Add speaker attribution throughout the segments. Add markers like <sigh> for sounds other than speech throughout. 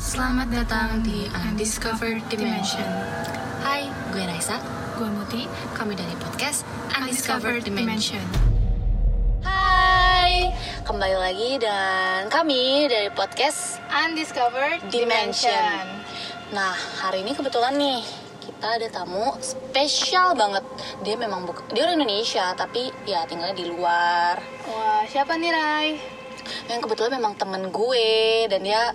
Speaker 1: Selamat datang di Undiscovered Dimension.
Speaker 2: Hai, gue Raisa.
Speaker 1: Gue Muti,
Speaker 2: Kami dari podcast
Speaker 1: Undiscovered Dimension.
Speaker 2: Hai, kembali lagi dan kami dari podcast
Speaker 1: Undiscovered
Speaker 2: Dimension. Nah, hari ini kebetulan nih kita ada tamu spesial banget. Dia memang bukan dia orang Indonesia tapi ya tinggalnya di luar.
Speaker 1: Wah, siapa nih Rai?
Speaker 2: Yang kebetulan memang temen gue dan dia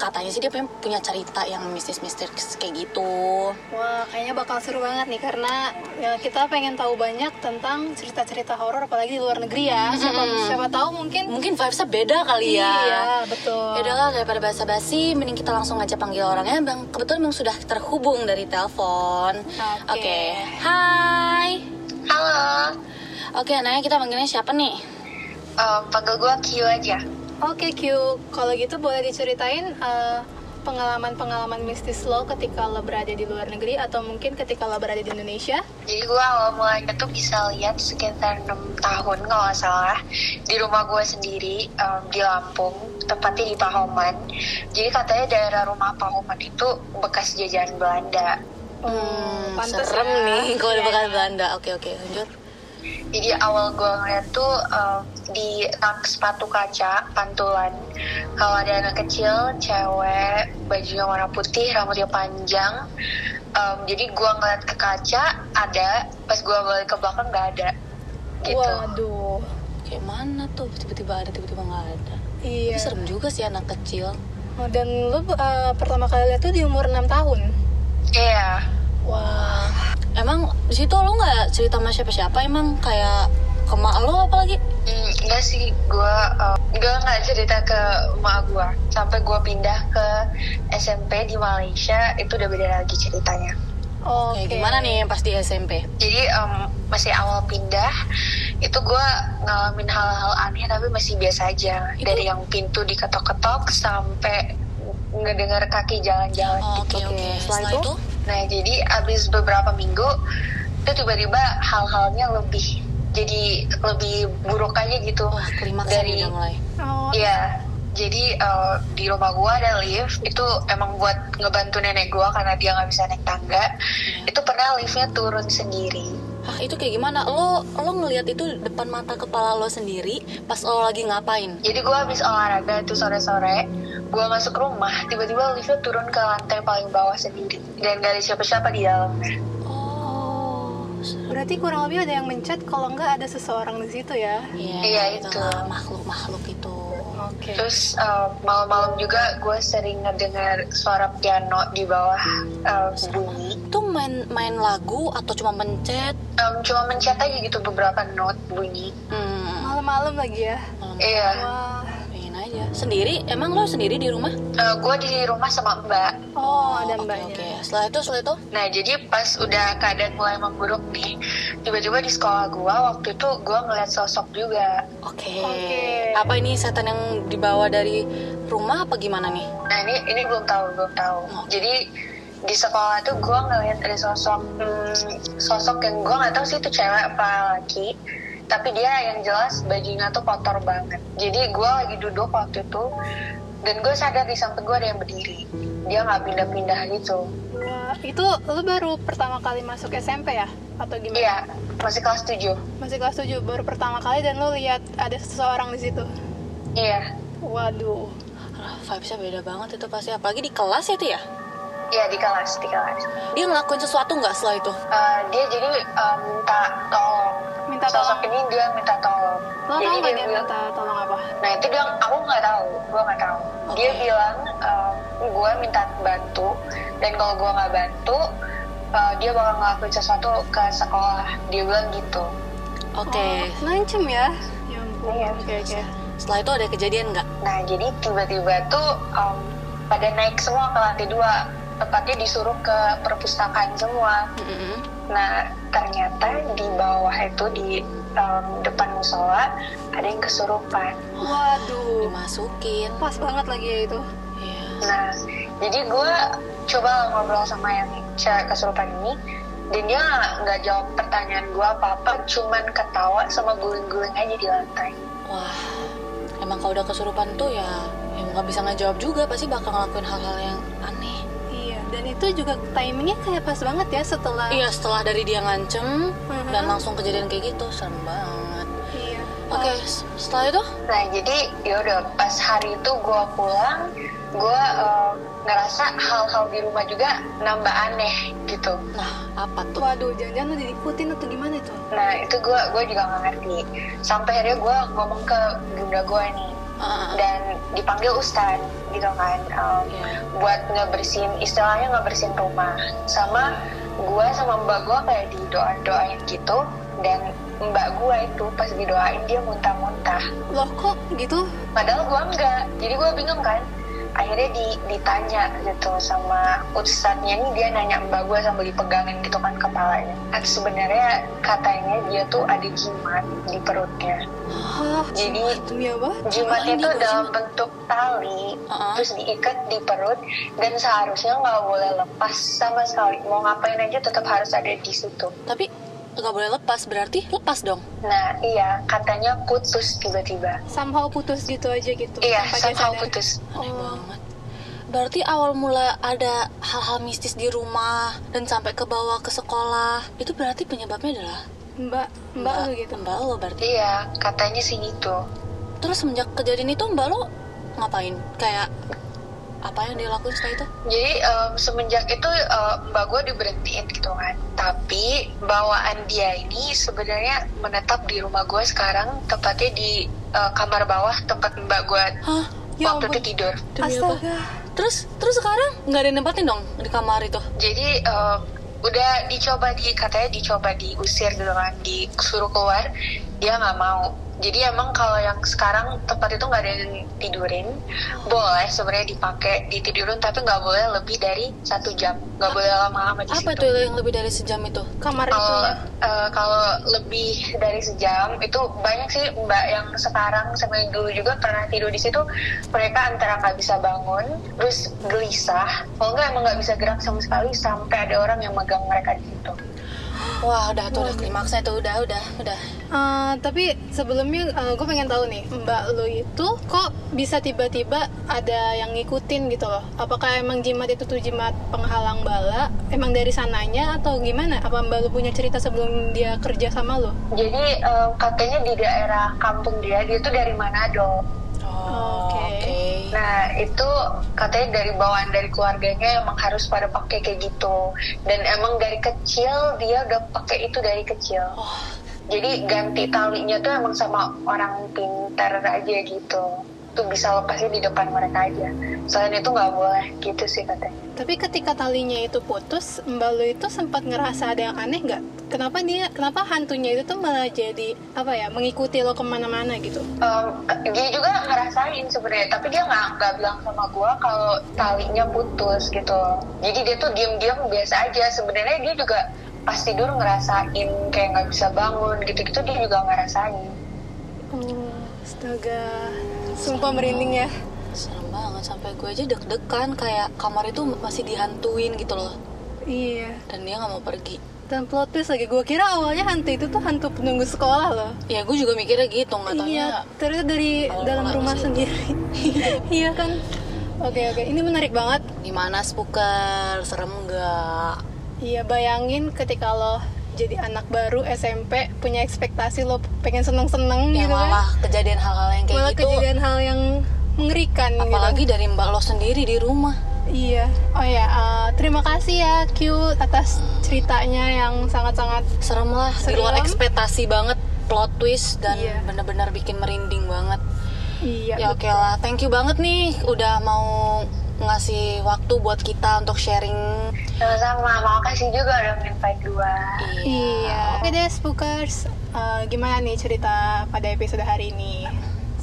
Speaker 2: katanya sih dia punya, punya cerita yang mistis-mistis kayak gitu.
Speaker 1: Wah, kayaknya bakal seru banget nih karena ya, kita pengen tahu banyak tentang cerita-cerita horor apalagi di luar negeri ya. Siapa siapa tahu mungkin
Speaker 2: Mungkin vibesnya beda kali ya.
Speaker 1: Iya, betul.
Speaker 2: Ya udahlah daripada basa-basi, mending kita langsung aja panggil orangnya. Bang, kebetulan Bang sudah terhubung dari telepon.
Speaker 1: Oke.
Speaker 2: Oke. Hai. Halo. Oke, nanya kita manggilnya siapa nih?
Speaker 3: Eh, panggil gue Q aja.
Speaker 1: Oke Q, kalau gitu boleh diceritain eh, pengalaman-pengalaman mistis lo ketika lo berada di luar negeri atau mungkin ketika lo berada di Indonesia?
Speaker 3: Jadi gue awal mulanya tuh bisa lihat sekitar 6 tahun kalau nggak salah di rumah gue sendiri em, di Lampung, tepatnya di Pahoman. Jadi katanya daerah rumah Pahoman itu bekas jajahan Belanda.
Speaker 1: Oh,
Speaker 2: Hmm,
Speaker 1: pantes
Speaker 2: serem
Speaker 1: ya.
Speaker 2: nih kalau
Speaker 1: Iya.
Speaker 2: bakal Belanda. Oke, oke, lanjut.
Speaker 3: Jadi awal gue ngeliat tuh em, di rak sepatu kaca pantulan. Kalau ada anak kecil, cewek, bajunya warna putih, rambutnya panjang. Em, jadi gue ngeliat ke kaca ada, pas gue balik ke belakang nggak ada. Gitu.
Speaker 1: Waduh.
Speaker 2: Kayak mana tuh tiba-tiba ada, tiba-tiba nggak ada.
Speaker 1: Iya.
Speaker 2: Tapi serem juga sih anak kecil.
Speaker 1: Oh, Dan lu uh, pertama kali lihat tuh di umur 6 tahun.
Speaker 3: Iya,
Speaker 1: Wah.
Speaker 2: Emang di situ lo nggak cerita sama siapa-siapa? Emang kayak ke mak lo apalagi?
Speaker 3: Hmm, enggak sih, gue gue nggak cerita ke emak gue sampai gue pindah ke SMP di Malaysia itu udah beda lagi ceritanya.
Speaker 1: Oke.
Speaker 2: Kayak gimana nih pas di SMP?
Speaker 3: Jadi em, masih awal pindah itu gue ngalamin hal-hal aneh tapi masih biasa aja
Speaker 2: Itu-
Speaker 3: dari yang pintu diketok-ketok sampai ngedengar kaki jalan-jalan
Speaker 2: Oke,
Speaker 3: gitu.
Speaker 2: oke.
Speaker 1: Oke,
Speaker 2: Setelah
Speaker 1: setelah
Speaker 2: itu?
Speaker 3: Nah jadi abis beberapa minggu itu tiba-tiba hal-halnya lebih jadi lebih buruk aja gitu
Speaker 2: Wah, klimaksnya
Speaker 3: dari
Speaker 2: udah mulai.
Speaker 1: Oh,
Speaker 3: Iya, jadi eh, di rumah gua ada lift itu emang buat ngebantu nenek gua karena dia nggak bisa naik tangga.
Speaker 2: Iya.
Speaker 3: Itu pernah liftnya turun sendiri.
Speaker 2: Hah, Ah, itu kayak gimana? Lo lo ngelihat itu depan mata kepala lo sendiri pas lo lagi ngapain?
Speaker 3: Jadi gua habis olahraga itu sore-sore, gua masuk rumah tiba-tiba liftnya turun ke lantai paling bawah sendiri dan gak ada siapa-siapa di dalamnya.
Speaker 2: Oh.
Speaker 1: Berarti kurang lebih ada yang mencet kalau nggak ada seseorang di situ ya.
Speaker 3: Iya,
Speaker 2: itu
Speaker 3: itu.
Speaker 2: gitu lah, makhluk-makhluk itu.
Speaker 1: Oke.
Speaker 3: Terus eh, malam-malam juga gua sering ngedengar suara piano di bawah eh, bunyi.
Speaker 2: Itu main main lagu atau cuma mencet?
Speaker 3: Em, cuma mencet aja gitu beberapa note bunyi.
Speaker 2: Hmm.
Speaker 1: Malam-malam lagi ya.
Speaker 2: malam
Speaker 3: Iya.
Speaker 1: Wah.
Speaker 2: pengen aja. Sendiri? Emang lo sendiri di rumah?
Speaker 3: Eh, gua di rumah sama Mbak.
Speaker 1: Oh, ada
Speaker 2: Oke,
Speaker 1: mbaknya.
Speaker 2: oke. Setelah itu, setelah itu?
Speaker 3: Nah, jadi pas udah keadaan mulai memburuk nih, tiba-tiba di sekolah gua waktu itu gua ngeliat sosok juga.
Speaker 2: Oke.
Speaker 1: Oke.
Speaker 2: Apa ini setan yang dibawa dari rumah apa gimana nih?
Speaker 3: Nah, ini ini belum tahu, belum tahu.
Speaker 1: Hmm.
Speaker 3: Jadi di sekolah tuh gua ngeliat ada sosok hmm, sosok yang gua nggak tahu sih itu cewek apa laki. Tapi dia yang jelas bajunya tuh kotor banget. Jadi gua lagi duduk waktu itu dan gue sadar di samping gua ada yang berdiri. Dia nggak pindah-pindah gitu.
Speaker 1: Wah, itu lu baru pertama kali masuk SMP ya? Atau gimana?
Speaker 3: Iya, masih kelas 7.
Speaker 1: Masih kelas 7 baru pertama kali dan lu lihat ada seseorang di situ.
Speaker 3: Iya.
Speaker 1: Waduh.
Speaker 2: Alah, vibes-nya beda banget itu pasti. Apalagi di kelas ya itu ya?
Speaker 3: Iya di kelas, di kelas.
Speaker 2: Dia ngelakuin sesuatu nggak setelah itu?
Speaker 3: Uh, dia jadi uh, minta tolong
Speaker 1: Minta
Speaker 3: sosok
Speaker 1: tolong.
Speaker 3: ini dia minta tolong
Speaker 1: Lo tau nggak dia
Speaker 3: bilang-
Speaker 1: minta tolong apa?
Speaker 3: nah itu dia aku nggak tahu gue nggak tahu dia
Speaker 2: Oke.
Speaker 3: bilang gue minta bantu dan kalau gue nggak bantu uh, dia bakal ngelakuin sesuatu ke sekolah dia bilang gitu
Speaker 2: Oke.
Speaker 1: Oh, ngancem ya? Ya ampun. Oke, oke.
Speaker 3: Iya.
Speaker 2: Setelah itu ada kejadian nggak?
Speaker 3: nah jadi tiba-tiba tuh um, pada naik semua ke lantai dua tepatnya disuruh ke perpustakaan semua
Speaker 2: Mm-mm.
Speaker 3: Nah, ternyata di bawah itu di em, depan musola ada yang kesurupan.
Speaker 1: Waduh.
Speaker 2: Dimasukin.
Speaker 1: Pas banget lagi ya itu.
Speaker 2: Iya.
Speaker 3: Nah, jadi gue coba ngobrol sama yang cewek kesurupan ini, dan dia nggak- nggak jawab pertanyaan gue apa-apa, cuman ketawa sama guling-guling aja di lantai.
Speaker 2: Wah, emang kalau udah kesurupan tuh ya, ya nggak bisa ngejawab juga pasti bakal ngelakuin hal-hal yang aneh
Speaker 1: Iya, dan itu juga timingnya kayak pas banget ya setelah
Speaker 2: iya setelah dari dia ngancem
Speaker 1: Mhm.
Speaker 2: dan langsung kejadian kayak gitu serem banget
Speaker 1: Iya.
Speaker 2: oke s- setelah itu
Speaker 3: Nah jadi yaudah pas hari itu gue pulang, gue eh, ngerasa hal-hal di rumah juga nambah aneh gitu.
Speaker 2: nah apa tuh
Speaker 1: Oh, Waduh, jangan-jangan lu diikutin atau gimana tuh?
Speaker 3: Nah itu gue gue juga nggak ngerti. Sampai akhirnya gue ngomong ke bunda gue nih
Speaker 2: Ah, ah, ah.
Speaker 3: dan dipanggil Ustad gitu kan em,
Speaker 2: Iya.
Speaker 3: buat ngebersihin istilahnya ngebersihin rumah sama gue sama mbak gue kayak didoa doain gitu dan mbak gue itu pas didoain dia muntah-muntah
Speaker 1: Loh kok gitu?
Speaker 3: padahal gue enggak jadi gue bingung kan akhirnya di- ditanya gitu sama ustadznya nih dia nanya mbak gue sambil dipegangin gitu kan kepalanya Nah, sebenarnya katanya dia tuh ada jimat di perutnya
Speaker 1: Hah,
Speaker 3: Jadi-
Speaker 1: demi apa?
Speaker 3: jimat
Speaker 2: Apaan
Speaker 3: itu
Speaker 2: nih, Mbak,
Speaker 3: dalam
Speaker 2: jimat?
Speaker 3: bentuk tali
Speaker 2: Uh-uh.
Speaker 3: terus diikat di perut dan seharusnya nggak boleh lepas sama sekali mau ngapain aja tetap harus ada di situ
Speaker 2: tapi nggak boleh lepas berarti lepas dong
Speaker 3: nah iya katanya putus tiba-tiba
Speaker 1: Somehow putus gitu aja gitu.
Speaker 3: iya
Speaker 1: tanpa dia
Speaker 3: somehow
Speaker 1: sadar.
Speaker 3: putus
Speaker 2: aneh
Speaker 1: Oh.
Speaker 2: banget berarti awal mula ada hal-hal mistis di rumah dan sampai ke bawah ke sekolah itu berarti penyebabnya adalah
Speaker 1: Mbak, mbak lu gitu.
Speaker 2: mbak lo berarti
Speaker 3: iya katanya sih gitu
Speaker 2: terus semenjak kejadian itu mbak lo ngapain kayak apa yang dia lakuin setelah itu
Speaker 3: Jadi em, semenjak itu em, mbak gue diberhentiin gitu kan. Tapi bawaan dia ini sebenarnya menetap di rumah gue sekarang, tepatnya di eh, kamar bawah tempat mbak gue
Speaker 2: hah
Speaker 1: Ya
Speaker 3: waktu
Speaker 1: ampun.
Speaker 3: itu tidur.
Speaker 2: demi apa
Speaker 1: Astaga.
Speaker 2: terus terus sekarang nggak ada yang nempatin dong di kamar itu
Speaker 3: Jadi em, udah dicoba di katanya dicoba diusir gitu kan, disuruh keluar, dia nggak mau. Jadi emang kalau yang sekarang tempat itu nggak ada yang tidurin, boleh sebenarnya dipakai ditidurin tapi nggak boleh lebih dari satu jam, nggak boleh lama-lama di
Speaker 2: apa
Speaker 3: situ.
Speaker 2: itu yang lebih dari sejam itu
Speaker 1: Kamar itu
Speaker 3: kalau
Speaker 1: ya.
Speaker 3: eh, kalau lebih dari sejam itu banyak sih mbak yang sekarang sama yang dulu juga pernah tidur di situ mereka antara nggak bisa bangun terus gelisah kalau nggak emang nggak bisa gerak sama sekali sampai ada orang yang megang mereka di situ
Speaker 2: wah udah tuh udah klimaksnya tuh udah udah udah
Speaker 1: Eh, tapi sebelumnya gue pengen tahu nih Mbak lu itu kok bisa tiba-tiba ada yang ngikutin gitu loh Apakah emang jimat itu tuh jimat penghalang bala Emang dari sananya atau gimana? Apa Mbak lu punya cerita sebelum dia kerja sama lo?
Speaker 3: jadi eh, katanya di daerah kampung dia dia tuh dari Manado
Speaker 1: Oke.
Speaker 3: Nah itu katanya dari bawaan dari keluarganya emang harus pada pakai kayak gitu dan emang dari kecil dia udah pakai itu dari kecil.
Speaker 2: Oh.
Speaker 3: Jadi ganti talinya tuh emang sama orang pintar aja gitu. Tuh bisa lepasnya di depan mereka aja. Selain itu nggak boleh gitu sih katanya.
Speaker 1: Tapi ketika talinya itu putus Mbak lu itu sempat ngerasa ada yang aneh nggak? Kenapa dia, kenapa hantunya itu tuh malah jadi apa ya mengikuti lo kemana-mana gitu?
Speaker 3: Em, dia juga ngerasain sebenarnya, tapi dia nggak nggak bilang sama gua kalau talinya putus gitu. Jadi dia tuh diam-diam biasa aja. Sebenarnya dia juga pas tidur ngerasain kayak nggak bisa bangun gitu-gitu dia juga ngerasain.
Speaker 1: Oh, astaga, sumpah merinding ya.
Speaker 2: Serem banget sampai gue aja deg-degan kayak kamar itu masih dihantuin gitu loh
Speaker 1: Iya.
Speaker 2: dan dia nggak mau pergi.
Speaker 1: Dan plot twist lagi, gue kira awalnya hantu itu tuh hantu penunggu sekolah loh
Speaker 2: Ya gue juga mikirnya gitu nggak taunya.
Speaker 1: Iya, ternyata dari
Speaker 2: awal
Speaker 1: dalam
Speaker 2: mulanya
Speaker 1: rumah
Speaker 2: sih. <laughs>
Speaker 1: sendiri Iya kan? Oke oke, ini menarik banget
Speaker 2: Gimana spooker? Serem nggak?
Speaker 1: Iya, bayangin ketika lo jadi anak baru SMP Punya ekspektasi lo pengen seneng-seneng
Speaker 2: Yang
Speaker 1: gitu
Speaker 2: Ya, malah
Speaker 1: kan
Speaker 2: kejadian hal-hal yang kayak
Speaker 1: Malah
Speaker 2: gitu.
Speaker 1: kejadian hal yang mengerikan
Speaker 2: Apalagi
Speaker 1: gitu
Speaker 2: dari mbak lo sendiri di rumah.
Speaker 1: Iya, oh ya, eh, terima kasih ya Q atas ceritanya yang sangat-sangat
Speaker 2: Serem lah. Di
Speaker 1: Serem.
Speaker 2: luar ekspektasi banget plot twist dan
Speaker 1: Iya.
Speaker 2: bener-bener bikin merinding banget.
Speaker 1: Iya,
Speaker 2: Ya oke lah, thank you banget nih udah mau ngasih waktu buat kita untuk sharing.
Speaker 3: Sama-sama, makasih juga udah invite gua.
Speaker 1: Iya. Oke deh, spookers. Eh, gimana nih cerita pada episode hari ini?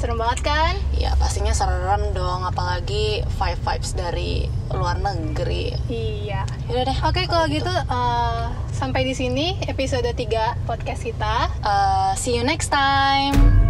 Speaker 1: Serem banget kan?
Speaker 2: Ya pastinya serem dong, apalagi five vibes dari luar negeri.
Speaker 1: Iya.
Speaker 2: Yaudah deh.
Speaker 1: Oke, kalau gitu eh, sampai di sini episode 3 podcast kita.
Speaker 2: Uh, see you next time.